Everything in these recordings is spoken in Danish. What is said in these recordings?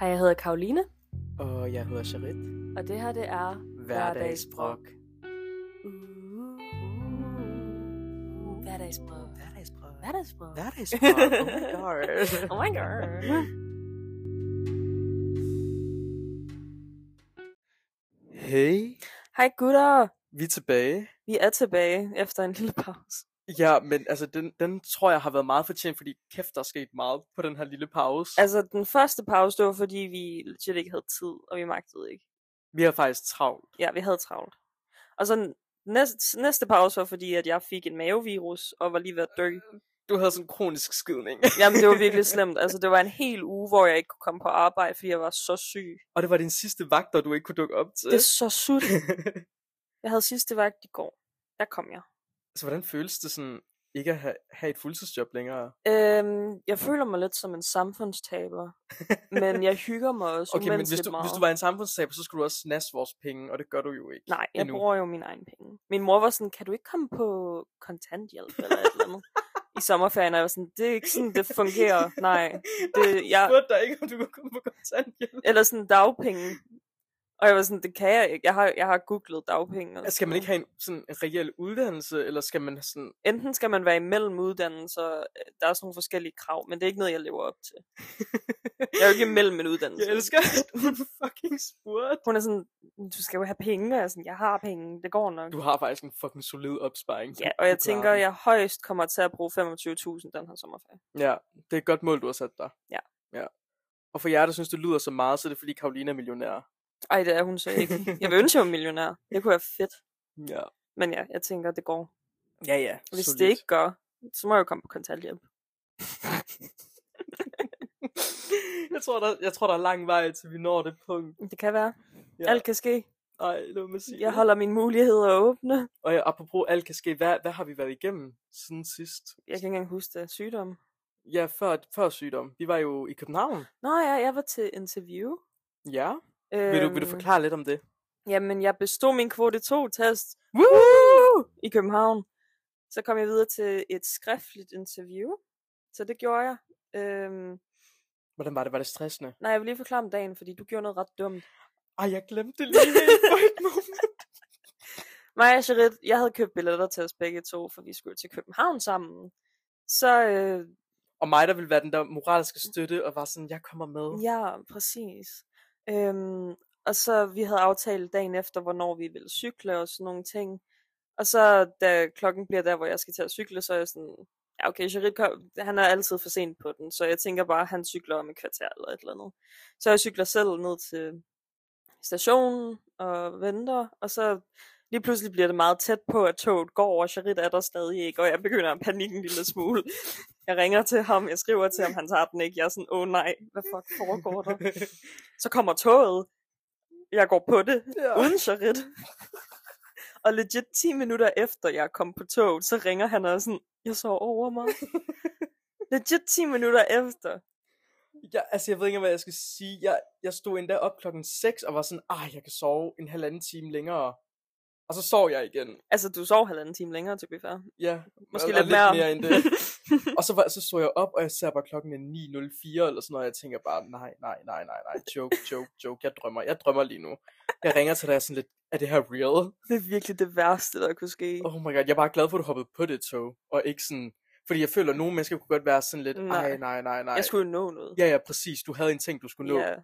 Og jeg hedder Karoline, Og jeg hedder Charit. og det her det er... Hverdagsbrok. Uh, Hverdagsbrød. Hverdagsbrok. Hverdagsbrød. Hverdagsbrok. Oh my Oh god. my god. Hey, Hej gutter. vi er tilbage. Vi er tilbage efter en lille pause. Ja, men altså, den, den tror jeg har været meget fortjent, fordi kæft, der er sket meget på den her lille pause. Altså, den første pause, det var fordi, vi legit ikke havde tid, og vi magtede ikke. Vi har faktisk travlt. Ja, vi havde travlt. Og så næste, næste pause var fordi, at jeg fik en mavevirus, og var lige ved at dø. Du havde sådan en kronisk skidning. Jamen, det var virkelig slemt. Altså, det var en hel uge, hvor jeg ikke kunne komme på arbejde, fordi jeg var så syg. Og det var din sidste vagt, og du ikke kunne dukke op til. Det er så sut. Jeg havde sidste vagt i går. Der kom jeg. så hvordan føles det sådan, ikke at have, have et fuldtidsjob længere? Øhm, jeg føler mig lidt som en samfundstaber, men jeg hygger mig også Okay, men hvis umenneskeligt du, meget. hvis du var en samfundstaber, så skulle du også snasse vores penge, og det gør du jo ikke. Nej, jeg endnu. bruger jo mine egne penge. Min mor var sådan, kan du ikke komme på kontanthjælp eller et eller andet? I sommerferien, og jeg var sådan, det er ikke sådan, det fungerer. Nej. Det, Jeg jeg, spurgte dig ikke, om du kunne komme på kontanthjælp. eller sådan dagpenge. Og jeg var sådan, det kan jeg ikke. Jeg har, jeg har googlet dagpenge. Og Skal man sådan ikke have en, sådan en reel uddannelse, eller skal man sådan... noget. Enten skal man være imellem uddannelser, øh, der er sådan nogle forskellige krav, men det er ikke noget, jeg lever op til. Jeg er jo ikke imellem en uddannelse. Jeg elsker, at hun fucking spurgte. Hun er sådan, du skal jo have penge, og jeg er sådan, jeg har penge, det går nok. Du har faktisk en fucking solid opsparing. Ja, Du- og jeg du klarer tænker, den. jeg højst kommer til at bruge 25.000 den her sommerferie. Ja, det er et godt mål, du har sat dig. Ja. ja. Og for jer, der synes, det lyder så meget, så er det fordi, Karoline er millionær. Ej, det er hun så ikke. Jeg vil ønske, jeg var millionær. Det kunne være fedt. Ja. Men ja, jeg tænker, det går. Ja, ja. Hvis det ikke gør, så må jeg jo komme på kontanthjælp. jeg, tror, der, jeg tror, der er lang vej, til vi når det punkt. Det kan være. Ja. Alt kan ske. Ej, lad mig sige Jeg det. holder mine muligheder åbne. Og ja, apropos alt kan ske, hvad, hvad har vi været igennem siden sidst? Jeg kan ikke engang huske det. Sygdom. Ja, før, før sygdom. Vi var jo i København. Nå ja, jeg var til interview. Ja. Øhm... Vil, du, vil du Øhm, forklare lidt om det? Jamen, jeg bestod min kvote 2-test Woo! i København. Så kom jeg videre til et skriftligt interview. Så det gjorde jeg. Øhm, Hvordan var det? Var det stressende? nej, jeg vil lige forklare om dagen, fordi du gjorde noget ret dumt. Ej, jeg glemte det lige helt på et moment. Maja og Charit, jeg havde købt billetter til os begge to, for vi skulle til København sammen. Så øh, Og mig, der ville være den der moralske støtte, og var sådan, jeg kommer med. ja, præcis. Øhm, og så vi havde aftalt dagen efter, hvornår vi ville cykle og sådan nogle ting. Og så da klokken bliver der, hvor jeg skal til at cykle, så er jeg sådan, ja okay, Charit, kom- han er altid for sent på den, så jeg tænker bare, at han cykler om et kvarter eller et eller andet. Så jeg cykler selv ned til stationen og venter, og så lige pludselig bliver det meget tæt på, at toget går, og Charit er der stadig ikke, og jeg begynder at panikke en lille smule. Jeg ringer til ham, jeg skriver til ham, han tager den ikke, jeg er sådan, åh oh, nej, hvad fuck foregår der? Så kommer toget, jeg går på det, ja. uden charit. og legit 10 minutter efter jeg kom på toget, så ringer han og er sådan, jeg sov over mig. legit 10 minutter efter. Jeg, altså, jeg ved ikke, hvad jeg skal sige. Jeg, jeg stod endda op klokken 6 og var sådan, ah, jeg kan sove en halvanden time længere. Og så sov jeg igen. Altså, du sov halvanden time længere, til vi færre. Ja, Måske lidt og, og mere. mere end det. og så, var, så så jeg op, og jeg ser bare klokken er 9.04 eller sådan noget, og jeg tænker bare, nej, nej, nej, nej, nej, joke, joke, joke, jeg drømmer, jeg drømmer lige nu. Jeg ringer til dig og er sådan lidt, er det her real? Det er virkelig det værste, der kunne ske. Oh my god, jeg er bare glad for, at du hoppede på det tog, og ikke sådan, fordi jeg føler, at nogle mennesker kunne godt være sådan lidt, Nej. nej, nej, nej, nej. Jeg skulle jo nå noget. Ja, ja, præcis, du havde en ting, du skulle nå. ja,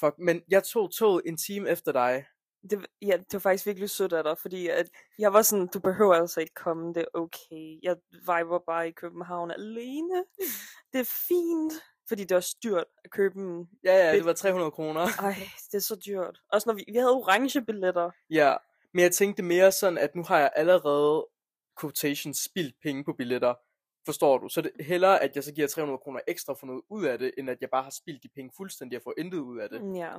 Fuck, men jeg tog toget en time efter dig. det, ja, det var faktisk virkelig sødt af dig, fordi at jeg var sådan, du behøver altså ikke komme, det er okay. Jeg viber bare i København alene. Det er fint, fordi det var dyrt at købe en Ja, ja, Fedt. det var 300 kroner. Ej, det er så dyrt. Også når vi, vi havde orange billetter. Ja, men jeg tænkte mere sådan, at nu har jeg allerede quotation spildt penge på billetter. Forstår du? Så det hellere, at jeg så giver 300 kroner ekstra for noget ud af det, end at jeg bare har spildt de penge fuldstændig og får intet ud af det. Mm, Ja.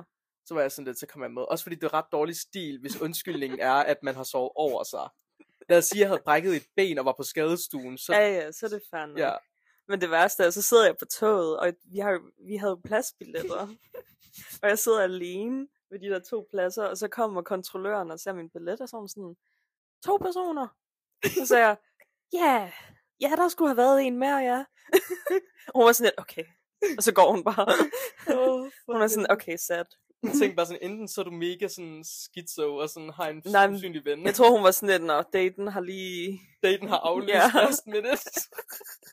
Så var jeg sådan lidt, så kom jeg med. Også fordi det er ret dårlig stil, hvis undskyldningen er, at man har sovet over sig. Lad os sige, at jeg havde brækket et ben og var på skadestuen, så... ja, ja, så er det fair nok. Ja, Men det værste er, så sidder jeg på toget, og vi, har, jo- vi havde jo pladsbilletter. og jeg sidder alene ved de der to pladser, og så kommer kontrolløren og ser min billet, og så er hun sådan, to personer. Så sagde jeg, ja, ja, der skulle have været en mere, ja. og hun var sådan lidt, okay, Og så går hun bare. Oh, Hun er sådan, okay, sad. Tænk bare sådan, enten så er du mega sådan schizo, og sådan har en Nej, men usynlig ven. Jeg tror, hun var sådan lidt, når daten har lige... daten har aflyst Ja. yeah. last minute.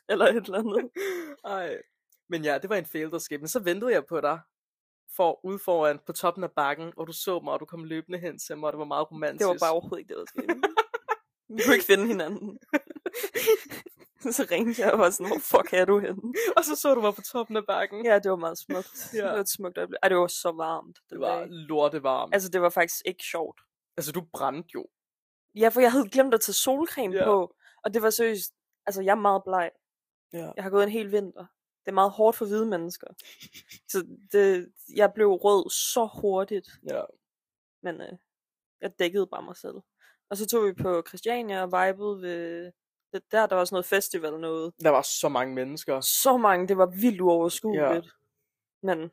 Eller et eller andet. Ej. Men ja, det var en failed Men så ventede jeg på dig for ude foran på toppen af bakken, og du så mig, og du kom løbende hen til mig, og det var meget romantisk. Det var bare overhovedet ikke det, der skete. Vi kunne ikke finde hinanden. så ringte jeg og var sådan, hvor fuck er du henne? Og så så du mig på toppen af bakken. Ja, det var meget smukt. Ja. Det var et smukt øjeblik. Ej, det var så varmt. Det Den var dag. lortevarmt. Altså, Altså, det var faktisk ikke sjovt. altså, du brændte jo. Ja, for jeg havde glemt at tage solcreme Ja. yeah. på. Og det var seriøst... Altså, jeg er meget bleg. Ja. Jeg har gået en hel vinter. Det er meget hårdt for hvide mennesker. Så det, jeg blev rød så hurtigt. ja. Men øh, jeg dækkede bare mig selv. Og så tog vi på Christiania og vibede ved... det- Der, der var sådan noget festival noget. Der var så mange mennesker. Så mange, det var vildt uoverskueligt. Ja. Men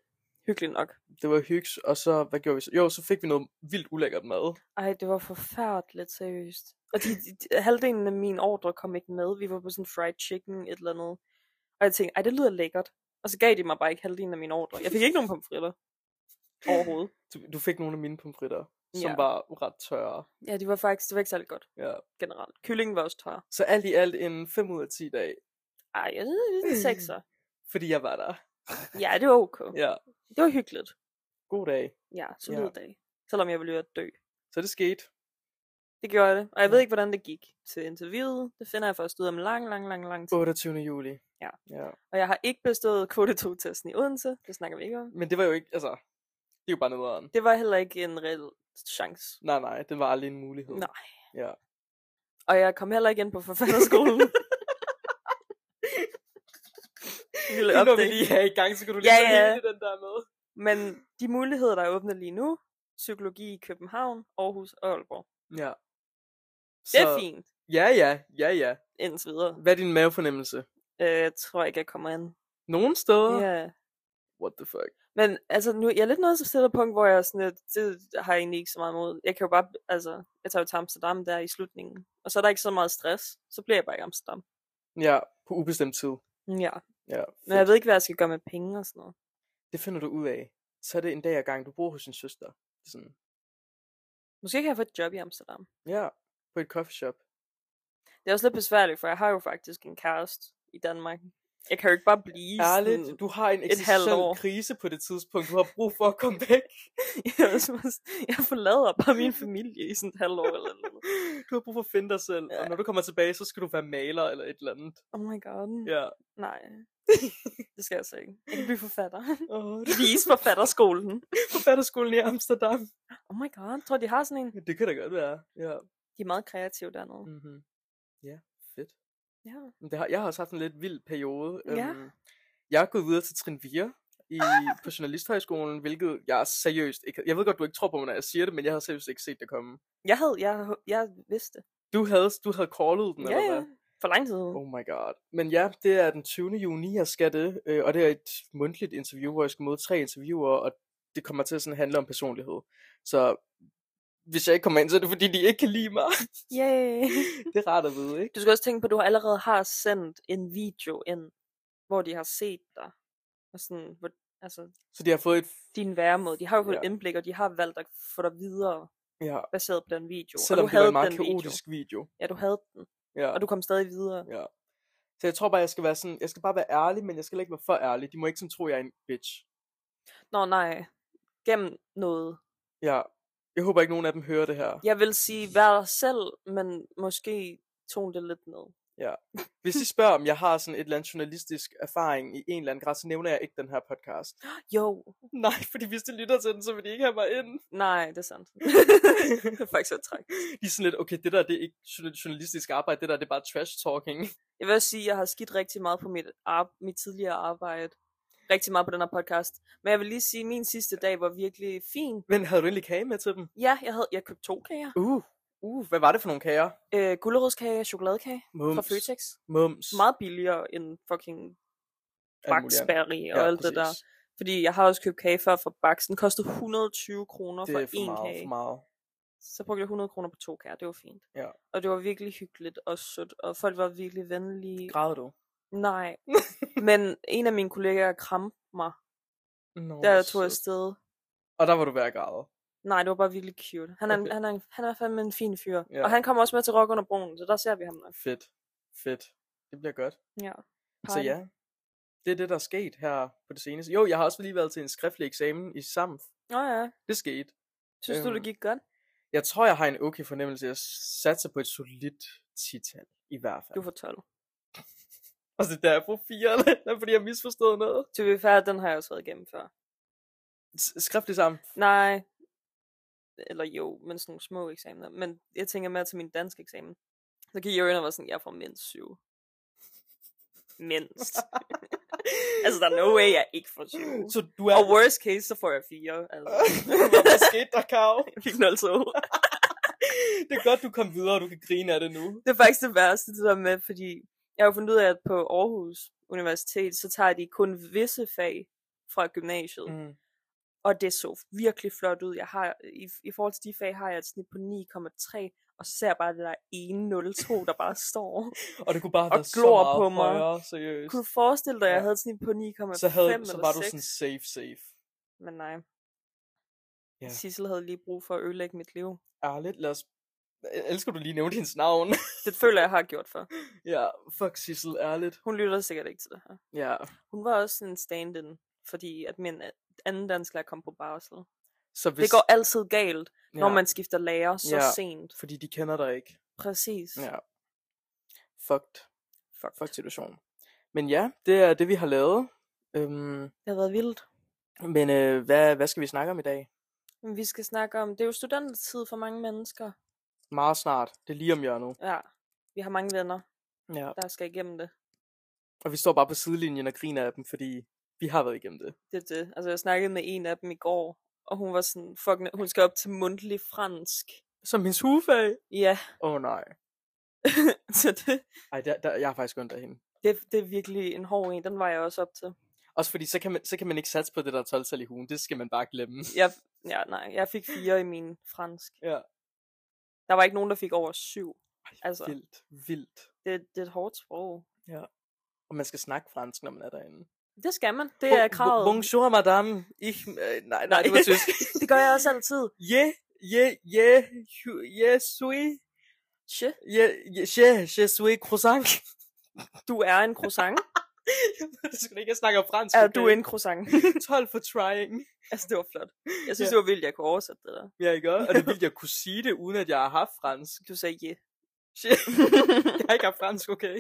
hyggeligt nok. Det var hyggs, og så, hvad gjorde vi så? Jo, så fik vi noget vildt ulækkert mad. Ej, det var forfærdeligt seriøst. Og de, de, de, halvdelen af min ordre kom ikke med. Vi var på sådan fried chicken, et eller andet. Og jeg tænkte, ej, det lyder lækkert. Og så gav de mig bare ikke halvdelen af min ordre. Jeg fik ikke nogen pomfritter. Overhovedet. Du, du fik nogle af mine pomfritter, som Ja. var ret tørre. Ja, de var faktisk, det var ikke særlig godt Ja. generelt. Kyllingen var også tør. Så alt i alt en 5 ud af 10 dag, Ej, jeg ved, sekser. fordi jeg var der. Hmm. Ja, det var okay. Ja. Det var hyggeligt. God dag. Ja, så Ja. ja. dag. Selvom jeg ville jo dø. Så det skete. Det gjorde jeg det. Og jeg ved Ja. ikke, hvordan det gik til interviewet. Det finder jeg først ud om lang, lang, lang, lang tid. 28. juli. Ja. ja. Og jeg har ikke bestået KD2-testen i Odense. Det snakker vi ikke om. Men det var jo ikke, altså, det er jo bare nederen. Det var heller ikke en reel chance. Nej, nej, det var aldrig en mulighed. Nej. Ja. Og jeg kom heller ikke ind på forfatterskolen. Lille Det når vi update. lige have i gang, så kan du lige Ja, tage ja. hele den der med. Men de muligheder, der er åbne lige nu, psykologi i København, Aarhus og Aalborg. Ja. Det er fint, Ja, ja, ja, ja. indtil videre. Hvad er din mavefornemmelse? Øh, jeg tror ikke, jeg kommer ind. Nogle steder? Ja. What the fuck? Men altså, nu, jeg er lidt nået til et punkt, hvor jeg er sådan lidt, det har jeg egentlig ikke så meget imod. Jeg kan jo bare, altså, jeg tager jo til Amsterdam der i slutningen. Og så er der ikke så meget stress, så bliver jeg bare i Amsterdam. Ja, på ubestemt tid. Ja, Ja, men jeg ved ikke, hvad jeg skal gøre med penge og sådan noget. Det finder du ud af. Så er det en dag ad gangen, du bor hos din søster. Det er Sådan, Måske kan jeg få et job i Amsterdam. ja, på et coffeeshop. Det er også lidt besværligt, for jeg har jo faktisk en kæreste i Danmark. Jeg kan jo ikke bare blive Ærligt, sådan... du har en halvt år. eksistentiel krise på det tidspunkt. Du har brug for at komme væk. jeg, er sådan- jeg forlader bare min familie i sådan et halvt år eller noget. Du har brug for at finde dig selv, og Ja. når du kommer tilbage, så skal du være maler eller et eller andet. Oh my god. Ja. Nej. Det skal jeg så ikke. Jeg kan blive forfatter. Åh, Vise forfatterskolen. forfatterskolen i Amsterdam. Oh my god. Tror du, de har sådan en? Det kan da godt være. Ja. De er meget kreative dernede. Mm-hmm. Ja, fedt. Ja. Men det har, jeg har også haft en lidt vild periode. Ja. Øhm, Jeg er gået videre til Trin 4 i, på Journalisthøjskolen, hvilket jeg seriøst ikke... Jeg ved godt, du ikke tror på mig, når jeg siger det, men jeg har seriøst ikke set det komme. Jeg havde, jeg, jeg vidste. Du havde, du havde callet den, Ja, ja. eller hvad? For lang tid. siden. Oh my god. Men ja, det er den 20. juni, jeg skal det, øh, og det er et mundtligt interview, hvor jeg skal møde tre interviewer, og det kommer til at sådan handle om personlighed. Så hvis jeg ikke kommer ind, så er det fordi, de ikke kan lide mig. Yay. det er rart at vide, ikke? Du skal også tænke på, at du allerede har sendt en video ind, hvor de har set dig. Og sådan, hvor, altså, Så de har fået et... din væremåde. De har jo fået Ja. ja. indblik, og de har valgt at få dig videre, Ja, baseret på den video. selvom og du det var havde en meget den video. kaotisk video. video. Ja, du havde den, Ja. og du kom stadig videre. ja. Så jeg tror bare, jeg skal være sådan, jeg skal bare være ærlig, men jeg skal heller ikke være for ærlig. De må ikke sådan tro, jeg er en bitch. Nå nej, gennem noget. Ja. Jeg håber ikke, nogen af dem hører det her. Jeg vil sige, vær dig selv, men måske tone det lidt ned. Hvis de spørger, om jeg har sådan et eller andet journalistisk erfaring i en eller anden grad, så nævner jeg ikke den her podcast. Jo, Nej, fordi hvis de lytter til den, så vil de ikke have mig ind. nej, det er sandt. det er faktisk et træk. De er sådan lidt, okay, det der det er ikke journa- journalistisk arbejde, det der det er bare trash talking. Jeg vil også sige, at jeg har skidt rigtig meget på mit, ar- mit tidligere arbejde. Rigtig meget på den her podcast. Men jeg vil lige sige, at min sidste dag var virkelig fin. Men havde du egentlig kage med til dem? Ja, jeg havde jeg købte to kager. Uh, uh, hvad var det for nogle kager? Øh, gulerodskage og chokoladekage Mums. fra Føtex. Mums. Meget billigere end fucking Alt muligt andet. Baksberry og ja, alt det der. præcis. Fordi jeg har også købt kage før fra Baks. Den kostede 120 kroner Det for er for én meget, kage. for meget. Så brugte jeg 100 kroner på to kager. Det var fint. Ja. Og det var virkelig hyggeligt og sødt. Og folk var virkelig venlige. Græd du? Nej. Men en af mine kollegaer kramte mig, Nå, da hvor jeg tog sødt. afsted. Og der var du ved at græde. Nej, det var bare virkelig cute. Han er, okay. Okay. han er, han er fandme en fin fyr. Ja. Ja. Og han kommer også med til Rock under broen, så der ser vi ham nok. Fedt. Fedt. Det bliver godt. Ja. Så Party. ja, det er det, der er sket her på det seneste. Jo, jeg har også lige været til en skriftlig eksamen i sammen. Nå ja. Det skete. Synes øhm. du, det Øhm. gik godt? Jeg tror, jeg har en okay fornemmelse. Jeg satser på et solidt tital, i hvert fald. Du får 12. Og så der jeg får fire, eller, eller fordi jeg misforstod noget. To be fair, den har jeg også været igennem før. S- skriftlig sammen. Nej. Eller jo, men sådan nogle små eksamener. Men jeg tænker mere til min danske eksamen. Så gik jeg jo ind og var sådan, jeg får mindst syv. Mindst. altså, der er no way, jeg ikke får syv. Så du er... Og worst case, så får jeg fire. Altså. Hvad skete der, Karo? Jeg fik 0 Det er godt, du kom videre, og du kan grine af det nu. Det er faktisk det værste, det der med, fordi jeg har jo fundet ud af, at på Aarhus Universitet, så tager de kun visse fag fra gymnasiet. Mm. Mm. Og det så virkelig flot ud. Jeg har, i, I forhold til de fag har jeg et snit på 9,3, og så ser jeg bare det der 102, der bare står. Og det kunne bare have Og været så glor meget på mig. højere, seriøst. Kunne du forestille dig, at jeg Ja. havde et snit på 9,5 Så, havde, så eller var du 6? sådan safe, safe. Men nej. Ja. Yeah. Sissel havde lige brug for at ødelægge mit liv. Ærligt, lad os... Jeg elsker, du lige nævnte hendes navn. Det føler jeg, jeg har gjort for. ja, fuck Sissel, ærligt. Hun lytter sikkert ikke til det her. Ja. Hun var også sådan en stand-in, fordi at min øh, anden dansklærer kom på barsel. Så hvis... Det går altid galt, ja, når man skifter lærer så Ja. sent. Fordi de kender dig ikke. Præcis. Ja. Fucked. Fuck. Fucked situation. Men ja, det er det, vi har lavet. Øhm, Det har været vildt. men øh, hvad, hvad skal vi snakke om i dag? Men vi skal snakke om, det er jo studentertid for mange mennesker. Meget snart. Det er lige om hjørnet. Ja. Vi har mange venner, Ja. der skal igennem det. Og vi står bare på sidelinjen og griner af dem, fordi vi har været igennem det. Det er det. Altså, jeg snakkede med en af dem i går, og hun var sådan, fuck, ne- hun skal op til mundtlig fransk. Som hendes hufag. Ja, Åh oh, nej. så det, Ej, der, der, jeg har faktisk ondt af hende. det, det er virkelig en hård en. Den var jeg også op til. Også fordi, så kan man, så kan man ikke satse på det der 12 i ugen. Det skal man bare glemme. Jeg, ja, nej, jeg fik fire i min fransk. Ja. Der var ikke nogen, der fik over syv. Altså. Altså. Vildt, vildt. Det, det er et hårdt sprog. Og man skal snakke fransk, når man er derinde. Det skal man. Det er Bo- kravet. bo- Bonjour, madame. Ich, øh, nej, nej, det var tysk. det gør jeg også altid. Je, je, je, je- je suis, Shit. je, je, je, je suis croissant. Du er en croissant. det skal ikke, jeg snakker fransk. er du en croissant? 12 for trying. altså, det var flot. Jeg synes, Ja. det var vildt, jeg kunne oversætte det der. Ja, ikke også? Og det er vildt, jeg kunne sige det, uden at jeg har haft fransk. Du sagde je. Shit, jeg har ikke haft fransk, okay?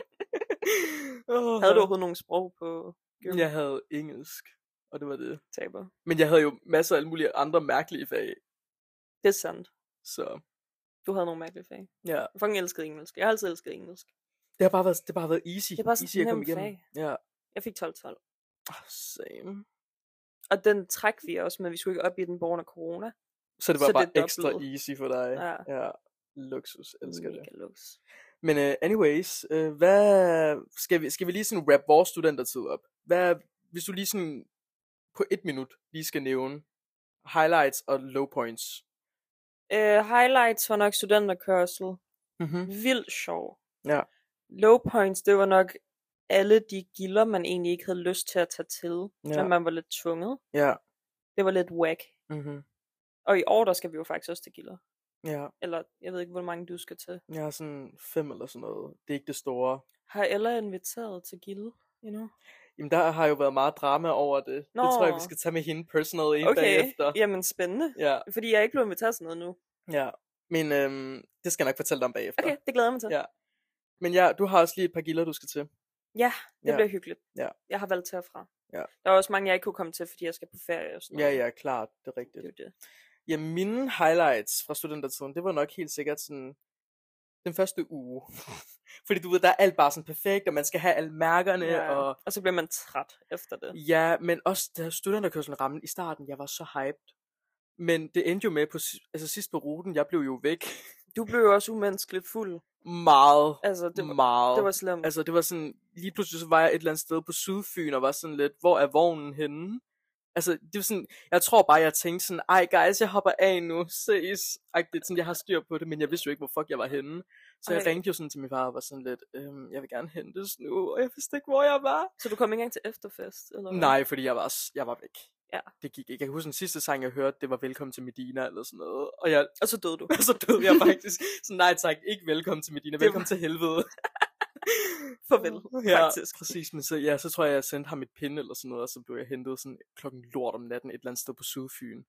oh, Havde du overhovedet nogle sprog på gym Jeg havde engelsk, og det var det. taber? Men jeg havde jo masser af alle mulige andre mærkelige fag, Det er sandt. så Du havde nogle mærkelige fag. ja. Jeg fucking elskede engelsk. Jeg har altid elsket engelsk. Det har bare været, det har bare været easy. Det er bare sådan easy at et komme nemt igennem. Ja. Jeg fik 12-12. Oh, same. Og den træk vi også, men vi skulle ikke op i den på grund af corona. Så det var Så så det bare er ekstra dobbelt. easy for dig. Ja. ja. Mm. Luksus, elsker det. Mega Lux. Men uh, anyways, uh, hvad skal vi, skal vi lige sådan wrap vores studentertid op? Hvad, hvis du lige sådan på et minut lige skal nævne highlights og low points. Øh, highlights var nok studenterkørsel. Mm-hmm. Vildt sjov. Ja. Low points, det var nok alle de gilder, man egentlig ikke havde lyst til at tage til. Ja. Ja. Men man var lidt tvunget. Ja. Det var lidt whack. Mm-hmm. Og i år, der skal vi jo faktisk også til gilder. Ja, Eller jeg ved ikke, hvor mange du skal til. jeg har sådan fem eller sådan noget. Det er ikke det store. Har Ella inviteret til gilde endnu? Jamen, der har jo været meget drama over det. Nå. Det tror jeg, vi Nå. skal tage med hende personal en okay. dag efter. jamen spændende. Ja, Fordi jeg er ikke blevet inviteret til noget nu. ja. Men øhm, det skal jeg nok fortælle dig om bagefter. Okay, det glæder jeg mig til. Ja. Men ja, du har også lige et par gilder, du skal til. ja det Ja. bliver hyggeligt. Ja. Jeg har valgt til og fra. Ja. Der er også mange, jeg ikke kunne komme til, fordi jeg skal på ferie og sådan Ja, noget. ja, klart. Det er Det rigtigt. er jo det. Ja, mine highlights fra studentertiden, det var nok helt sikkert sådan den første uge. Fordi du ved, der er alt bare sådan perfekt, og man skal have alle mærkerne, ja. og og så bliver man træt efter det. ja, men også da studenterkørselen rammen i starten, jeg var så hyped. Men det endte jo med, på, si- altså sidst på ruten, jeg blev jo væk Du blev jo også umenneskeligt fuld. meget, Altså, det var, meget. det var slemt. Altså det var sådan, lige pludselig så var jeg et eller andet sted på Sydfyn, og var sådan lidt, hvor er vognen henne? Altså, det var sådan, jeg tror bare, jeg tænkte sådan, ej guys, jeg hopper af nu, ses. Agtigt, sådan, jeg har styr på det, men jeg vidste jo ikke, hvor fuck jeg var henne. Så jeg Ej. ringte jo sådan til min far og var sådan lidt, øhm, jeg vil gerne hentes nu, og jeg vidste ikke, hvor jeg var. Så du kom ikke engang til efterfest? Eller hvad? Nej, fordi jeg var, s- jeg var væk. Ja. Det gik ikke. Jeg kan huske den sidste sang, jeg hørte, det var Velkommen til Medina eller sådan noget. Og jeg, Og så døde du. så døde jeg faktisk. Så nej tak, ikke velkommen til Medina, var- velkommen til helvede. Farvel, ja, faktisk. præcis. Men så, ja, så tror jeg, jeg sendte ham et pin eller sådan noget, og så blev jeg hentet sådan klokken lort om natten et eller andet sted på Sydfyn.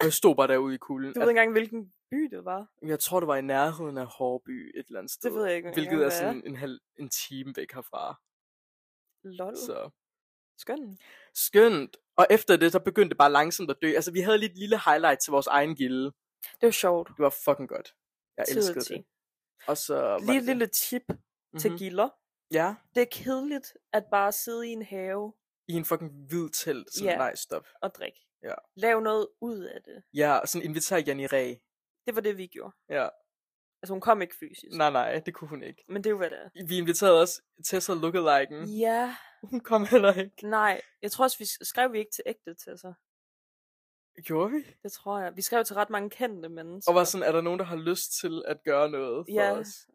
Og jeg stod bare derude i kulden. Du ved ikke engang, hvilken by det var. Jeg, jeg tror, det var i nærheden af Hårby et eller andet sted. Det ved jeg ikke engang, Hvilket er hvad er. sådan en, halv, en time væk herfra. Lol. Så. Så Skøn. skønt. Og efter det, så begyndte det bare langsomt at dø. Altså, vi havde lige et lille highlight til vores egen gilde. Det var sjovt. Det var fucking godt. Jeg Tid og elskede tid. det. Og så var Lige et det det. lille tip mm-hmm. Mhm. til gilder. Ja. Det er kedeligt at bare sidde i en have i en fucking hvid telt. Sådan, Ja. nej, stop. og drikke. Ja. Lav noget ud af det. Ja, og sådan inviterer Janni Ræ. Det var det, vi gjorde. Ja. Altså, hun kom ikke fysisk. Nej, nej, det kunne hun ikke. Men det er jo, hvad det er. Vi inviterede også Tessa Lookaliken. Ja, Hun kom heller ikke. nej. Jeg tror også, vi s- skrev vi ikke til ægte til sig. Gjorde vi? Det tror jeg. Vi skrev til ret mange kendte mennesker. Og var sådan, er der nogen, der har lyst til at gøre noget for Ja. os?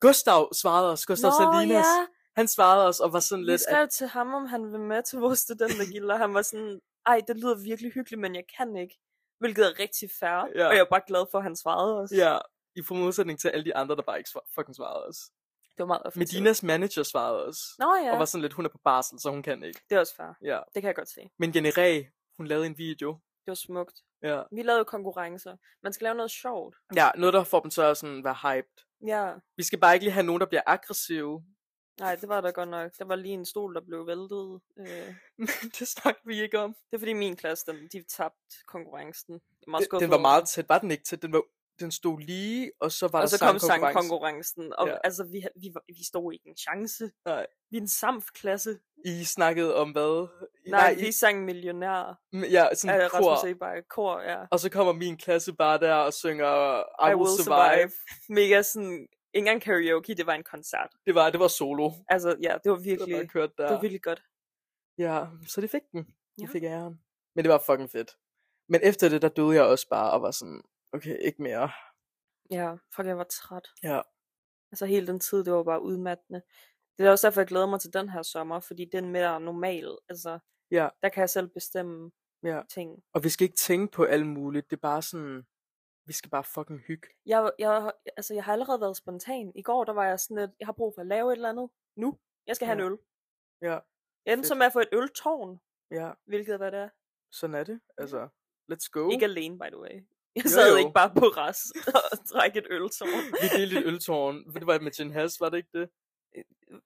Gustav svarede os, Gustav Nå, Salinas. ja. Han svarede os og var sådan Vi lidt, skrev til ham, om han ville med til vores studentergilder. Han var sådan, ej, det lyder virkelig hyggeligt, men jeg kan ikke. Hvilket er rigtig fair. Ja. Og jeg er bare glad for, at han svarede os. ja, i for modsætning til alle de andre, der bare ikke svar- fucking svarede os. Det var meget offensivt. Medinas manager svarede os. Nå ja, Og var sådan lidt, hun er på barsel, så hun kan ikke. det er også fair. Ja. Det kan jeg godt se. Men Janni Ræ, hun lavede en video. Det var smukt. Ja. Vi lavede jo konkurrencer. Man skal lave noget sjovt. ja, noget, der får dem til at sådan være hyped. Ja, Vi skal bare ikke lige have nogen, der bliver aggressive. nej, det var da godt nok. Der var lige en stol, der blev væltet. Øh, Men det snakker vi ikke om. det er fordi min klasse, den, de tabte konkurrencen. Jeg er meget Den, skuffet den var over meget tæt. Var den ikke tæt? Den, var, den stod lige, og så var og der så kom sangkonkurrence. sangkonkurrencen, og Ja. ja. altså, vi, ha- vi, var- vi stod ikke en chance. Nej. Vi er en samfklasse. I snakkede om hvad? I- Nej, vi sang Millionær I, ja, sådan af en Rasmus kor. Eberg. Kor, ja. Og så kommer min klasse bare der og synger I, I Will Survive. Mega sådan, ikke engang karaoke, det var en koncert. Det var, det var solo, Altså, ja, det var der virkelig, bare kørte der. det var virkelig godt. Ja, så det fik den. Det Ja. fik æren. Men det var fucking fedt. Men efter det, der døde jeg også bare og var sådan, okay, ikke mere. Ja, fuck, jeg var træt. Ja. Altså, hele den tid, det var bare udmattende. Det er også derfor, jeg glæder mig til den her sommer, fordi den er mere normal. Altså, Ja. der kan jeg selv bestemme Ja. ting. Og vi skal ikke tænke på alt muligt. Det er bare sådan, vi skal bare fucking hygge. Jeg, jeg, altså, jeg har allerede været spontan. I går, der var jeg sådan, at jeg har brug for at lave et eller andet. Nu. Jeg skal have Ja. en øl. Ja. Jeg endte så Fedt. med at få et øltårn, Ja, hvilket var det er. sådan er det. Altså, let's go. Ikke alene, by the way. Jeg Jo, sad jo. ikke bare på ras og drak et øltårn. vi delte et øltårn. Det var med Jen Hass, var det ikke det?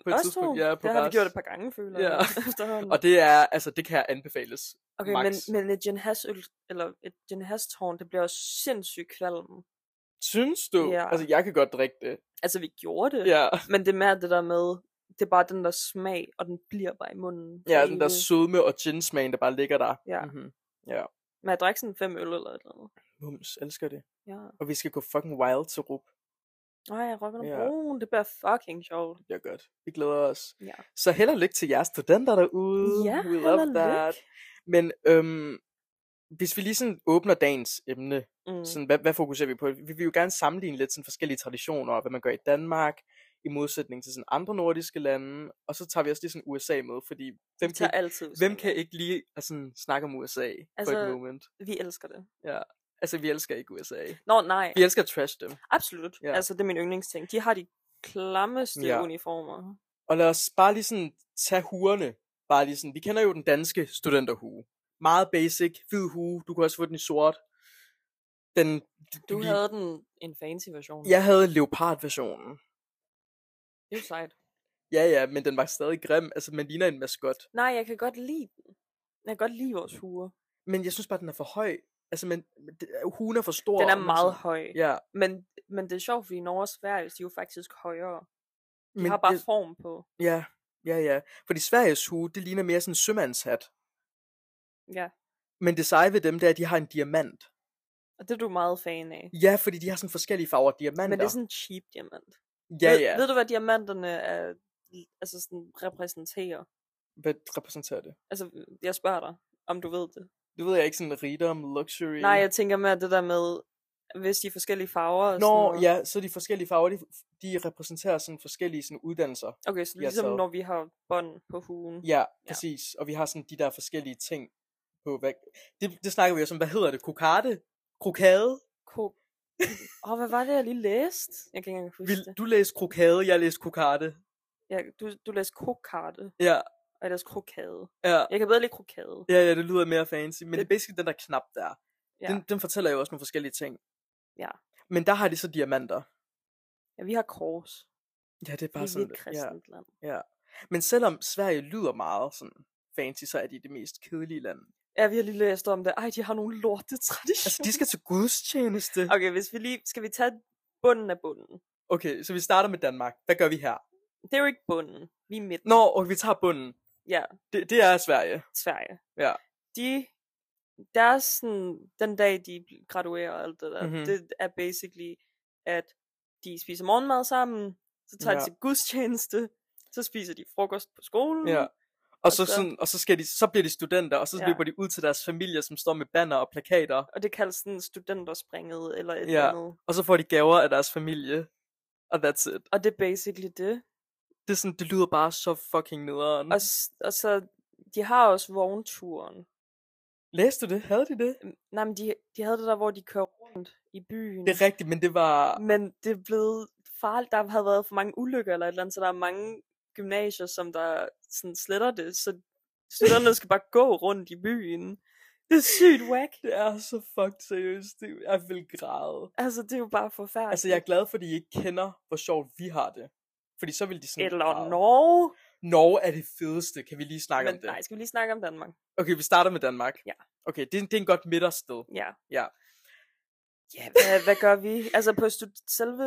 På Os to, ja, på det har vi Ras. gjort et par gange, føler Ja. jeg. efterhånden. Og det er, altså, det kan anbefales. okay, max. men, men et Gin Has øl, eller et Gin Has tårn, det bliver også sindssygt kvalm. Synes du? Ja. Altså, jeg kan godt drikke det. Altså, vi gjorde det, Ja, men det er mere det der med, det er bare den der smag, og den bliver bare i munden. ja hele- den der sødme og gin-smagen, der bare ligger der. Ja. Mm-hmm. Men jeg drak sådan fem øl eller et eller andet. Mums, elsker det. Ja. Og vi skal gå fucking wild til Rup. Nej, jeg rocker Ja. ja. broen. Det bliver fucking sjovt. Det bliver godt. Vi glæder os. Ja. Så held og lykke til jeres studenter derude. Ja, We held love og lykke. that. Men øhm, hvis vi lige sådan åbner dagens emne, Mm. Sådan, hvad, hvad fokuserer vi på? Vi vil jo gerne sammenligne lidt sådan forskellige traditioner, og hvad man gør i Danmark, i modsætning til sådan andre nordiske lande, og så tager vi også lige sådan USA med, fordi hvem, vi tager kan, altid hvem udsigten. kan ikke lige at sådan snakke om USA altså, for Altså- et moment? Vi elsker det. Altså, vi elsker ikke USA. Nå, nej. Vi elsker trash dem. Absolut. Ja. Ja. Altså, det er min yndlingsting. De har de klammeste Ja. ja. uniformer. Og lad os bare lige sådan tage huerne. Bare lige sådan, vi kender jo den danske studenterhue. Meget basic, hvid hue, du kan også få den i sort. Den, Du vi, havde den en fancy version. Jeg havde leopardversionen. Det er jo sejt. Ja, ja, men den var stadig grim. Altså, man ligner en maskot. Nej, jeg kan godt lide den. Jeg kan godt lide vores hue. Men jeg synes bare, den er for høj. Altså, men, men det- hun er for stor. Den og er man meget sådan- høj. Ja, Men, men det er sjovt, fordi Norge og Sverige, de er jo faktisk højere. De men har bare jeg- form på. ja, ja, ja. Fordi Sveriges hue, det ligner mere sådan en sømandshat. Ja. Men det seje ved dem, det er, at de har en diamant. Og det er du meget fan af. Ja, fordi de har sådan forskellige farver diamanter. Men det er sådan en cheap diamant. ja, ved, ja. ved du, hvad diamanterne er, altså sådan, repræsenterer? Hvad repræsenterer det? Altså, jeg spørger dig, om du ved det. Det ved jeg ikke, sådan rigdom, luxury. Nej, jeg tænker mere det der med, hvis de er forskellige farver og sådan Nå, noget. ja, så de forskellige farver, de, de repræsenterer sådan forskellige sådan uddannelser. Okay, så Ja, ligesom så- når vi har bånd på hugen. Ja, præcis. Og vi har sådan de der forskellige ting på, hvad... Det, det snakker vi også om, hvad hedder det? Kokarde? Krokade? Ko- Åh, hvad var det, jeg lige læste? Jeg kan ikke engang huske Vil, det. du læste krokade, jeg læste kokarde. Ja, du, du læste kokarte, Ja, og jeg læste krokade. ja. Jeg kan bedre lide krokade. Ja, ja, det lyder mere fancy, men det, det er basically den der knap der. Ja. Den, den fortæller jo også nogle forskellige ting. Ja. Men der har de så diamanter. Ja, vi har kors. Ja, det er Vi bare er sådan. et Ja. kristent land. Men selvom Sverige lyder meget sådan fancy, så er de det mest kedelige land. Ja, vi har lige læst om det. Ej, de har nogle lorte Altså, traditioner. de skal til gudstjeneste. Okay, hvis vi lige... Skal vi tage bunden af bunden? Okay, så vi starter med Danmark. Hvad gør vi her? Det er jo ikke bunden. Vi er midt. Nå, og vi tager bunden. Ja. Det, det er Sverige. Sverige. Ja. De, deres sådan, den dag de bl- graduerer og alt det der, Mhm. mm-hmm. det er basically, at de spiser morgenmad sammen, så tager ja. Ja. de til gudstjeneste, så spiser de frokost på skolen. Ja. Og Og så, så- sådan, og så, skal de, så bliver de studenter, og så Ja. ja. løber de ud til deres familier, som står med banner og plakater, Og det kaldes sådan studenterspringet eller et Ja. eller andet. og så får de gaver af deres familie. Og that's it. Og det er basically det. Det, er sådan, det lyder bare så fucking nederen. Og, s- og så, de har også vognturen. Læste du det? Havde de det? Mm, Nej, men de, de havde det der, hvor de kører rundt i byen. Det er rigtigt, men det var... Men det er blevet farligt. Der havde været for mange ulykker eller et eller andet, så der er mange gymnasier, som der sådan sletter det, så studenterne skal bare gå rundt i byen. Det er sygt whack. Det er så fucked seriøst. Det, jeg vil græde. Altså, det er jo bare forfærdeligt. Altså, jeg er glad for, at de ikke kender, hvor sjovt vi har det. Fordi så vil de sådan... Eller græde. Norge. Norge er det fedeste. Kan vi lige snakke om Men det? nej, skal vi lige snakke om Danmark? Okay, vi starter med Danmark. Ja. Okay, det, er- det er en godt midtersted. Ja. Ja. Ja, hvad, hvad gør vi? Altså, på stu- selve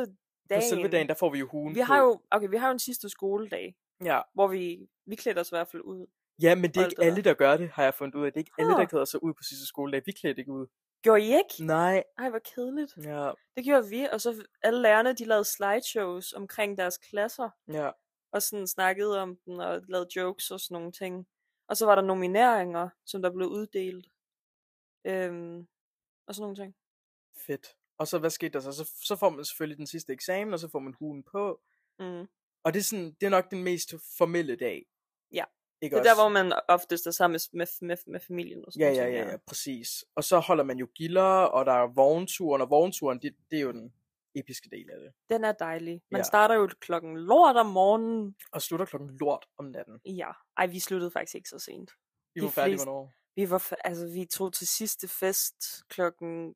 dagen. På selve dagen, der får vi jo hugen Vi har på. jo, okay, vi har jo en sidste skoledag, Ja. hvor vi, vi klædte os i hvert fald ud. ja, men det er Hold ikke da alle, der gør det, har jeg fundet ud af. Det er ikke alle, der Huh. klæder sig ud på sidste skoledag. Vi klæder ikke ud. Gjorde I ikke? Nej. Ej, hvor kedeligt. Mm. Ja, Det gjorde vi, og så alle lærerne, de lavede slideshows omkring deres klasser, ja. og sådan snakkede om den, og lavede jokes og sådan nogle ting. Og så var der nomineringer, som der blev uddelt. Øhm, og sådan nogle ting. Fedt. Og så, hvad skete der så? så? Så får man selvfølgelig den sidste eksamen, og så får man hugen på. Mm. Og det er, sådan, det er nok den mest formelle dag. Ja. Ikke Det er der, hvor man oftest er sammen med, med, med, med familien og sådan Ja, nogle ja, ting, ja, ja, præcis. Og så holder man jo gilder, og der er vognturen, og vognturen, det, det er jo den episke del af det. Den er dejlig. Man Ja. ja. starter jo klokken lort om morgenen. Og slutter klokken lort om natten. Ja. Ej, vi sluttede faktisk ikke så sent. I De var færdige, fleste- hvornår? Vi var, fa- altså, vi tog til sidste fest klokken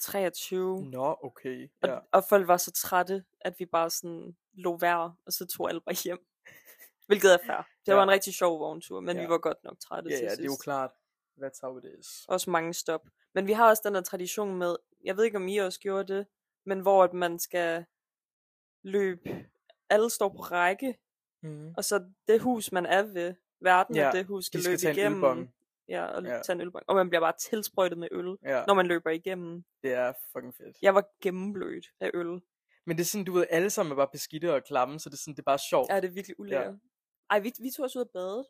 23. Nå, okay. Og, Ja. og folk var så trætte, at vi bare sådan lå vær, og så tog alle bare hjem. Hvilket er fair. Det Ja. var en rigtig sjov vogntur, men Ja. vi var godt nok trætte ja, til ja, sidst. det er jo klart. That's how it is. Også mange stop. Men vi har også den der tradition med, jeg ved ikke om I også gjorde det, men hvor at man skal løbe, alle står på række, Mm. og så det hus, man er ved, verden Ja, ja, det hus, skal, De skal løbe tage en igennem. ølbong. Ja, og Ja. ja. tage en ølbong. Og man bliver bare tilsprøjtet med øl, Ja, når man løber igennem. det er fucking fedt. Jeg var gennemblødt af øl. Men det er sådan, du ved, alle sammen er bare beskidte og klamme, så det er sådan, det er bare sjovt. Ja, det er virkelig ulækkert. Ja. Ej, vi, vi tog os ud og bade.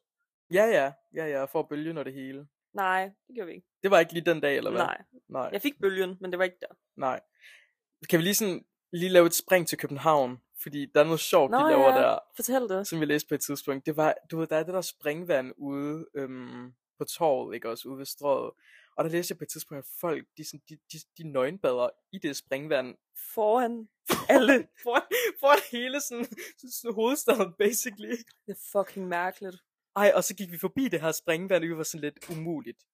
Ja, ja, ja, ja, for bølgen og det hele. Nej, det gjorde vi ikke. Det var ikke lige den dag, eller hvad? Nej, Nej. jeg fik bølgen, men det var ikke der. Nej. Kan vi lige sådan lige lave et spring til København? Fordi der er noget sjovt, Nå, Nå de laver ja. der, Fortæl det. som vi læste på et tidspunkt. Det var, du ved, der er det der springvand ude øhm, på torvet, ikke også, ude ved strøget. Og der læste jeg på et tidspunkt, at folk, de, sådan, de, de, de nøgenbader i det springvand. Foran Alle, for, for hele sådan, sådan, sådan hovedstaden, basically. det er fucking mærkeligt. Ej, og så gik vi forbi det her springvand, og vi var sådan lidt umuligt.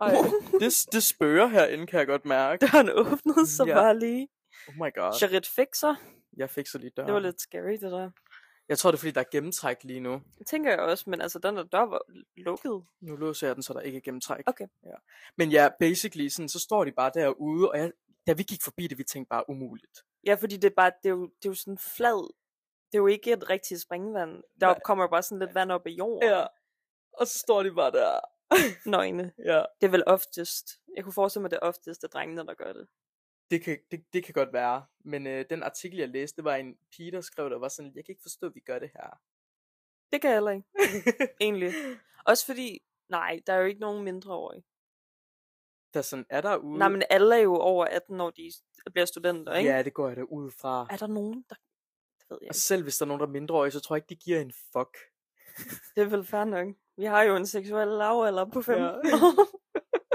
Ej, Det, det spørger herinde, kan jeg godt mærke. døren åbnede så Ja. ja. bare lige. Oh my god, Charit fik sig. jeg fik så lige døren. Det var lidt scary, det der. Jeg tror, det er, fordi der er gennemtræk lige nu. Det tænker jeg også, men altså, den der dør var lukket. Nu låser jeg den, så der ikke er gennemtræk. Okay. Ja. Men ja, basically, sådan, så står de bare derude, og jeg, da vi gik forbi det, vi tænkte bare umuligt. Ja, fordi det er bare, det er jo, det er jo sådan flad. Det er jo ikke et rigtigt springvand. Der Nej. kommer bare sådan lidt vand op af jorden. og så står de bare der. Nøgne. Ja. Det er vel oftest. Jeg kunne forestille mig, det er oftest, at drengene, der gør det. Det kan, det, det kan godt være, men øh, den artikel, jeg læste, det var en pige, der skrev, der var sådan, jeg kan ikke forstå, at vi gør det her. Det kan jeg heller ikke, egentlig. Også fordi, nej, der er jo ikke nogen mindreårige. der sådan er derude. Nej, men alle er jo over 18, når de bliver studenter, ikke? Mm. Ja, det går jeg da ud fra. Er der nogen, der... Det ved jeg Og ikke. selv hvis der er nogen, der er mindreårige, så tror jeg ikke, de giver en fuck. Det er vel fair nok. Vi har jo en seksuel lavalder på 15 ja.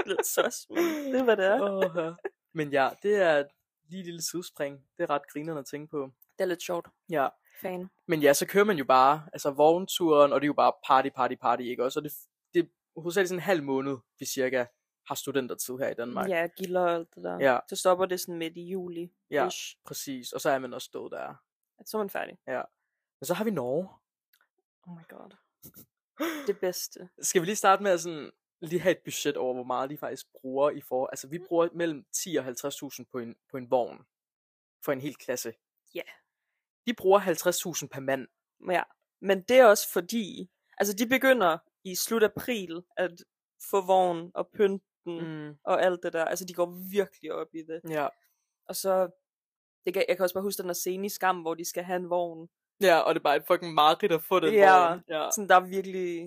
Lidt sus, men det er, hvad det er. Åh, men ja, det er lige et lille sidespring. Det er ret grinerende at tænke på. Det er lidt sjovt. Ja. Fan. Men ja, så kører man jo bare, altså vognturen, og det er jo bare party, party, party, ikke også? Og det, det er hovedsageligt sådan en halv måned, vi cirka har studentertid her i Danmark. Ja, gilder og alt det der. Ja. Så stopper det sådan midt i juli. Ja. Ish. Præcis, og så er man også stået der. Så er man færdig. Men så har vi Norge. Oh my god. Det bedste. Skal vi lige starte med at sådan, lige have et budget over, hvor meget de faktisk bruger i for... Altså, Mm. vi bruger mellem 10 og 50.000 på en, på en vogn. For en hel klasse. Ja. De bruger 50.000 per mand. Ja. Men det er også fordi, altså de begynder i slut april at få vogn og pynten mm. og alt det der. Altså de går virkelig op i det. Ja. Og så, det kan, jeg kan også bare huske den der scene i Skam, hvor de skal have en vogn. Ja, og det er bare et fucking mareridt at få den Ja. vogn. Ja. Sådan der er virkelig,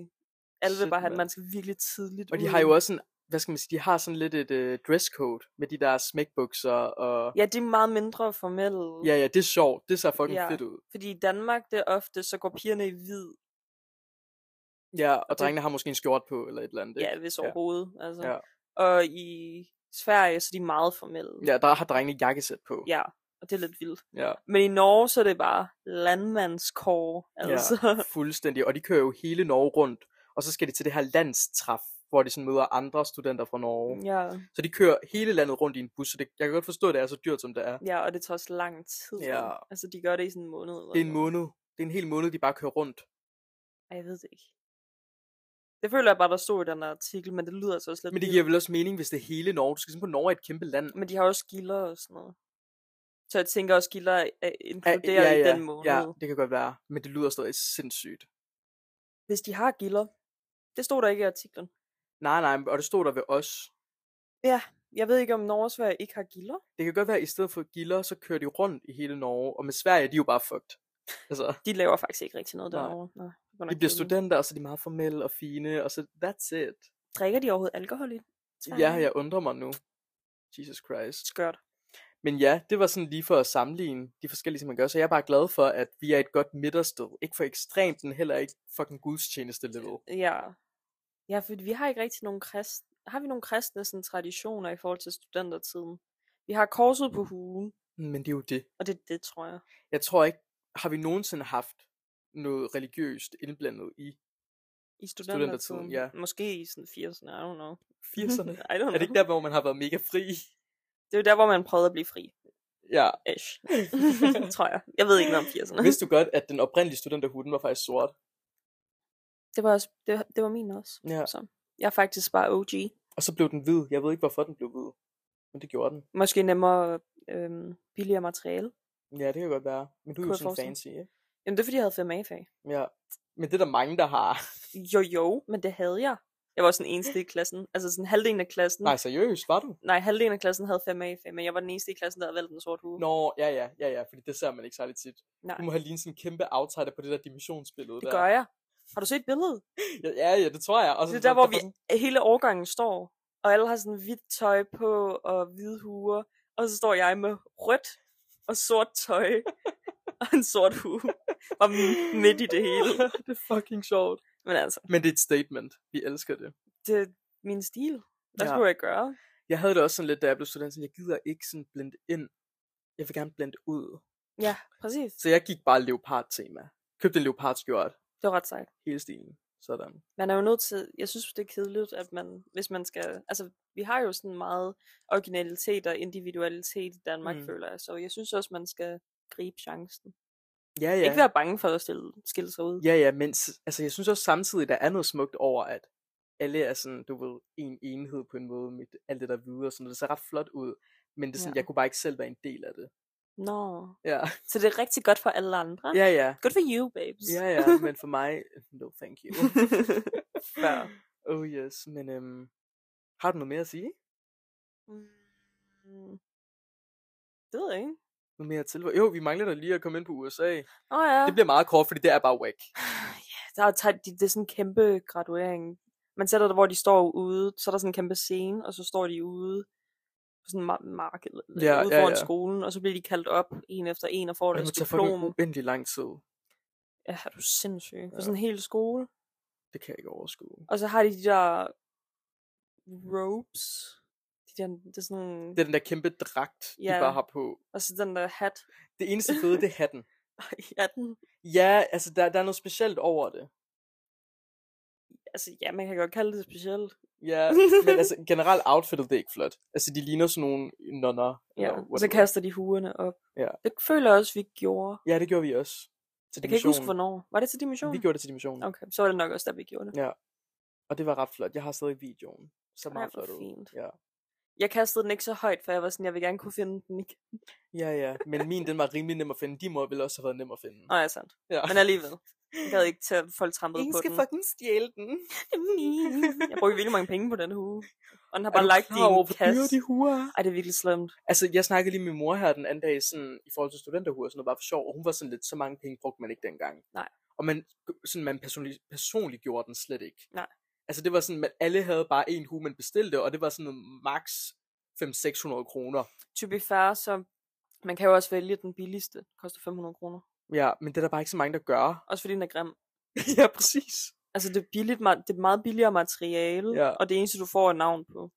alle vil Shit, bare have, at mand. man skal virkelig tidligt Og de ud. har jo også sådan, hvad skal man sige, de har sådan lidt et øh, dresscode med de der smækbukser og... Ja, de er meget mindre formelle. Ja, ja, det er sjovt. Det ser fucking Ja. fedt ud. Fordi i Danmark, det er ofte, så går pigerne i hvid. Ja, og det- drengene har måske en skjort på eller et eller andet. ikke? Ja, hvis overhovedet. Altså. Ja. Og i Sverige, så er de meget formelle. ja der har drengene jakkesæt på. ja. Og det er lidt vildt. ja. Men i Norge, så er det bare landmandskår. Altså. Ja, fuldstændig. Og de kører jo hele Norge rundt, og så skal de til det her landstræf, hvor de sådan møder andre studenter fra Norge. Ja. Ja. ja. Så de kører hele landet rundt i en bus, så det, jeg kan godt forstå, at det er så dyrt, som det er. ja, og det tager også lang tid. Ja. Altså, de gør det i sådan en måned. Eller Det er en noget. måned. Det er en hel måned, de bare kører rundt. Ej, jeg ved det ikke. Det føler jeg bare, der stod i den her artikel, men det lyder altså også lidt Men det vildt. giver vel også mening, hvis det er hele Norge. Du skal simpelthen på Norge er et kæmpe land. Men de har også gilder og sådan noget. Så jeg tænker også, gilder er Ja, inkluderet ja, i ja, den måned. Ja, det kan godt være. Men det lyder stadig sindssygt. Hvis de har gilder. Det stod der ikke i artiklen. Nej, nej, og det stod der ved os. Jeg ved ikke, om Norge og Sverige ikke har gilder. Det kan godt være, at i stedet for gilder, så kører de rundt i hele Norge. Og med Sverige, de er jo bare fucked. Altså, De laver faktisk ikke rigtig noget Nej. derovre. Nej. det var nok de bliver kedeligt. studenter, og så er de meget formelle og fine, og så that's it. Drikker de overhovedet alkohol i Ja, jeg undrer mig nu. Jesus Christ. Skørt. Men ja, det var sådan lige for at sammenligne de forskellige, som man gør. Så jeg er bare glad for, at vi er et godt midtersted. Ikke for ekstremt, men heller ikke fucking gudstjeneste level. Ja. Ja, for vi har ikke rigtig nogen kristne. Har vi nogle kristne sådan, traditioner i forhold til studentertiden? Vi har korset på hugen, Men det er jo det. og det er det, tror jeg. Jeg tror ikke, har vi nogensinde haft noget religiøst indblandet i I Studentertiden, studentertiden. ja. Måske i sådan 80'erne, I don't know. 80'erne? I don't know. er det ikke der, hvor man har været mega fri? det er jo der, hvor man prøvede at blive fri. Ja. Ish. tror jeg. Jeg ved ikke noget om 80'erne. Vidste du godt, at den oprindelige studenterhuden var faktisk sort? Det var, også, det, var- det var min også. Ja. Så jeg er faktisk bare OG. Og så blev den hvid. Jeg ved ikke, hvorfor den blev hvid. Men det gjorde den. Måske nemmere øhm, billigere materiale. Ja, det kan godt være. Men du er Kunne jo jeg sådan forestille mig. fancy, ikke? Jamen det er fordi, jeg havde 5 a fag Ja. Men det er der mange, der har. Jo jo, men det havde jeg. Jeg var sådan den eneste i klassen. Altså sådan halvdelen af klassen. Nej, seriøst, var du? Nej, halvdelen af klassen havde 5 a fag men jeg var den eneste i klassen, der havde valgt den sorte hue. Nå, ja, ja, ja, ja, fordi det ser man ikke særlig tit. Nej, Du må have lignet sådan en kæmpe outsider på det der dimensionsbillede det der. gør jeg. Har du set billedet? Ja, ja, ja, det tror jeg. Og så, Det er der, hvor vi var sådan- hele årgangen står, og alle har sådan hvidt tøj på og hvide huer, og så står jeg med rødt og sort tøj og en sort hue og m- midt i det hele. det er fucking sjovt. Men altså, Men det er et statement. Vi elsker det. det er min stil. Hvad Ja. skulle jeg gøre? Jeg havde det også sådan lidt, da jeg blev student, sådan, jeg gider ikke sådan blende ind. Jeg vil gerne blende ud. Ja, præcis. Så jeg gik bare leopard-tema. Købte en leopardskjort. Det var ret sejt. Hele stilen. Sådan. Man er jo nødt til, jeg synes det er kedeligt, at man, hvis man skal, altså vi har jo sådan meget originalitet og individualitet i Danmark, Mm. mm. føler jeg, så jeg synes også, man skal gribe chancen. Ja, Ja. ja. Ikke være bange for at stille, skille sig ud. Ja, ja, men s- altså, jeg synes også samtidig, der er noget smukt over, at alle er sådan, du ved, en enhed på en måde med alt det der videre, sådan noget. Det ser ret flot ud, men det er sådan, Ja. ja. jeg kunne bare ikke selv være en del af det. Nå. Ja, Så det er rigtig godt for alle andre. ja, ja. Good for you, babes. Ja, ja, men for mig, no thank you. Fair. oh yes, men øhm, har du noget mere at sige? Mm. Det ved jeg ikke. Noget mere til? Jo, vi mangler da lige at komme ind på USA. Åh oh, ja. Det bliver meget kort, fordi det er bare whack. ja der er, tæt- det det er sådan en kæmpe graduering. man sætter det, hvor de står ude, så er der sådan en kæmpe scene, og så står de ude på sådan en mar- marked, eller Ja, ude ja, foran ja. skolen, og så bliver de kaldt op en efter en og får Og det deres må tage fucking diplom. uendelig lang tid. Ja, er du sindssyg. For Ja. sådan en hel skole. Det kan jeg ikke overskue. Og så har de de der ropes. De der, det er sådan nogle, Det er den der kæmpe dragt, de Ja. bare har på. og så den der hat. Det eneste fede, det er hatten. ja, den, Ja, altså der, der er noget specielt over det. altså, ja, man kan godt kalde det specielt. Ja, men altså generelt outfittet, det er ikke flot. Altså de ligner sådan nogle nonner. Ja, eller og så whatever. kaster de huerne op. Ja. Det føler jeg også, vi gjorde. Ja, det gjorde vi også. Til Jeg kan ikke huske, dimensionen. hvornår. Var det til dimensionen? Vi gjorde det til dimensionen. Okay. Okay, så var det nok også, der vi gjorde det. Ja. Og det var ret flot. Jeg har stadig videoen. Så Ej, meget hvor flot ud. fint. Ja. Jeg kastede den ikke så højt, for jeg var sådan, jeg vil gerne kunne finde den ikke. ja, ja. Men min, den var rimelig nem at finde. De må vel også have været nem at finde. Nå, ja, sandt. Ja. Men alligevel. Jeg gad ikke til, at folk trampede på den. fucking stjæle den. Jeg brugte virkelig mange penge på den hue. Og den har Er bare du lagt i klar over, en hvor dyre kasse. de huer er? Ej, det er virkelig slemt. Altså, jeg snakkede lige med min mor her den anden dag, sådan, i forhold til studenterhuer, sådan noget, bare for sjov, og hun var sådan lidt, så mange penge brugte man ikke dengang. Nej. Og man, sådan, man personlig, personligt gjorde den slet ikke. Nej. Altså, det var sådan, at alle havde bare en hue, man bestilte, og det var sådan noget max 500-600 kroner. To be fair, så man kan jo også vælge den billigste. Den koster 500 kroner. Ja, men det er der bare ikke så mange, der gør. Også fordi den er grim. ja, præcis. Altså, det er, billigt, ma- det er meget billigere materiale, Ja. og det eneste, du får, er navn på.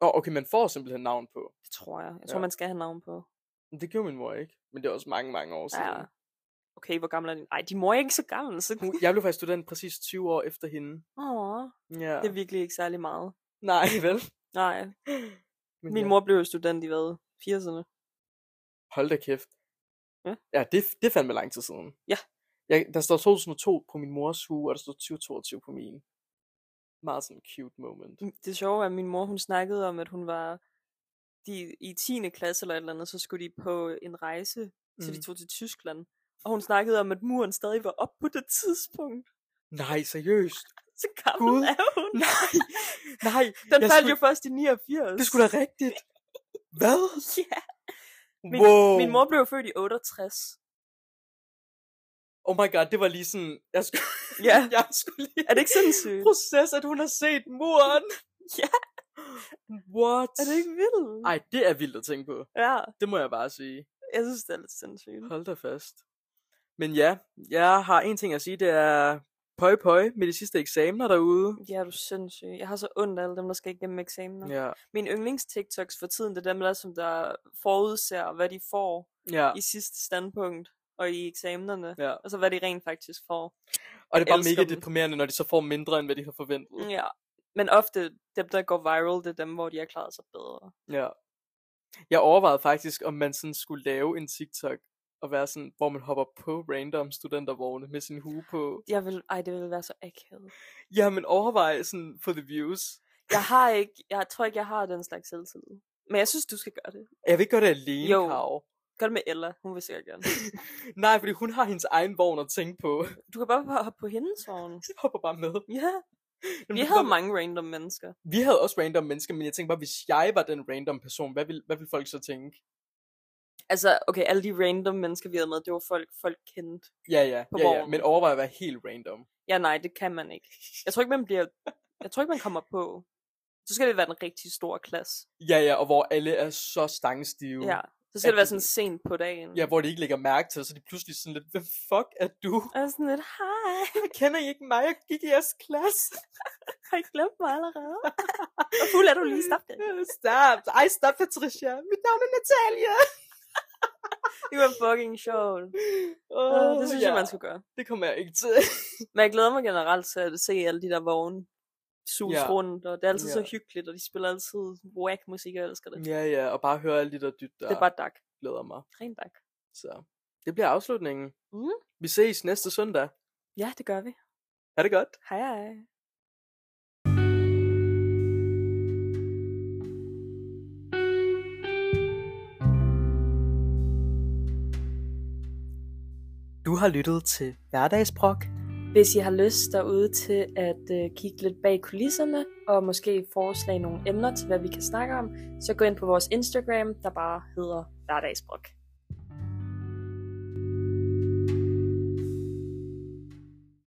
Og okay, man får simpelthen navn på. Det tror jeg. Jeg tror, Ja. man skal have navn på. Men det gjorde min mor ikke. Men det er også mange, mange år siden. Ja. Okay, hvor gammel er din? Ej, de mor er ikke så gammel. Så... Hun, jeg blev faktisk student præcis 20 år efter hende. Åh, Ja. det er virkelig ikke særlig meget. Nej, vel? Nej, Men min ja. mor blev jo student i hvad? 80'erne. Hold da kæft. Ja. Ja, det, det er fandme lang tid siden. Ja. Jeg, der står 2002 på min mors hue, og der står 2022 på min. Meget sådan cute moment. Mm, Det sjove er, at min mor hun snakkede om, at hun var de, i 10. klasse eller et eller andet, så skulle de på en rejse, så de Mm. tog til Tyskland. Og hun snakkede om, at muren stadig var op på det tidspunkt. Nej, seriøst. Så gammel Gud. er hun. Nej, nej. Den jeg faldt skulle- jo først i 89. Det skulle da rigtigt. Hvad? Ja. Min, wow. min mor blev jo født i 68. Oh my god, det var lige sådan... Jeg skulle, Ja. jeg skulle lige... Er det ikke sindssygt? Proces, at hun har set muren. Ja. What? er det ikke vildt? Ej, det er vildt at tænke på. Ja, Det må jeg bare sige. jeg synes, det er lidt sindssygt. Hold da fast. Men ja, jeg har en ting at sige, det er pøj pøj med de sidste eksamener derude. Ja, er du sindssyg. Jeg har så ondt af alle dem, der skal igennem eksamener. Ja, Min yndlings TikToks for tiden, det er dem, der, som der forudser, hvad de får ja, i sidste standpunkt og i eksamenerne. ja. Og så hvad de rent faktisk får. Og det er bare elsker mega dem. deprimerende, når de så får mindre, end hvad de har forventet. Ja. Men ofte dem, der går viral, det er dem, hvor de har klaret sig bedre. Ja. Jeg overvejede faktisk, om man sådan skulle lave en TikTok, og være sådan, hvor man hopper på random studentervogne med sin hue på. Jeg vil, ej, det ville være så akavet. Ja, men overvej sådan for the views. Jeg har ikke, jeg tror ikke, jeg har den slags selvtillid. Men jeg synes, du skal gøre det. Jeg vil ikke gøre det alene, Jo. Karo. Gør det med Ella, hun vil sikkert gerne. Nej, fordi hun har hendes egen vogn at tænke på. Du kan bare hoppe på hendes vogn. Jeg hopper bare med. Ja, Jamen, vi det kan havde godt- mange random mennesker. Vi havde også random mennesker, men jeg tænkte bare, hvis jeg var den random person, hvad ville, hvad ville folk så tænke? Altså, okay, alle de random mennesker, vi havde med, det var folk, folk kendte. Ja, ja, På ja, ja borgen. men overvej at være helt random. Ja, nej, det kan man ikke. Jeg tror ikke, man bliver... Jeg tror ikke, man kommer på. Så skal det være den rigtig store klasse. Ja, ja, og hvor alle er så stangstive. Ja. Så skal det At være du- sådan sent på dagen. ja, hvor de ikke lægger mærke til det, så de pludselig sådan lidt, hvem fuck er du? Og jeg er sådan lidt, hej, Kender I ikke mig? Jeg gik i jeres klasse. har I glemt mig allerede? Hvor fuld er du lige? Stop det. Øh, Stop. Ej, stop, Patricia. Mit navn er Natalia. Det var fucking sjovt. Oh, Oh, det synes ja. jeg, man skulle gøre. Det kommer jeg ikke til. Men jeg glæder mig generelt til at se alle de der vogne sus Ja. ja. rundt, og det er altid ja. Ja. så hyggeligt, og de spiller altid whack musik, og jeg elsker det. Ja. ja, ja, og bare høre alle de der dyt, der Det er bare dak. glæder mig. Ren dak. Så det bliver afslutningen. Mm. Vi ses næste søndag. Ja, det gør vi. Ha' det godt. Hej hej. Du har lyttet til Hverdagsbrok. Hvis I har lyst derude til at øh, kigge lidt bag kulisserne, og måske foreslage nogle emner til, hvad vi kan snakke om, så gå ind på vores Instagram, der bare hedder Hverdagsbrok.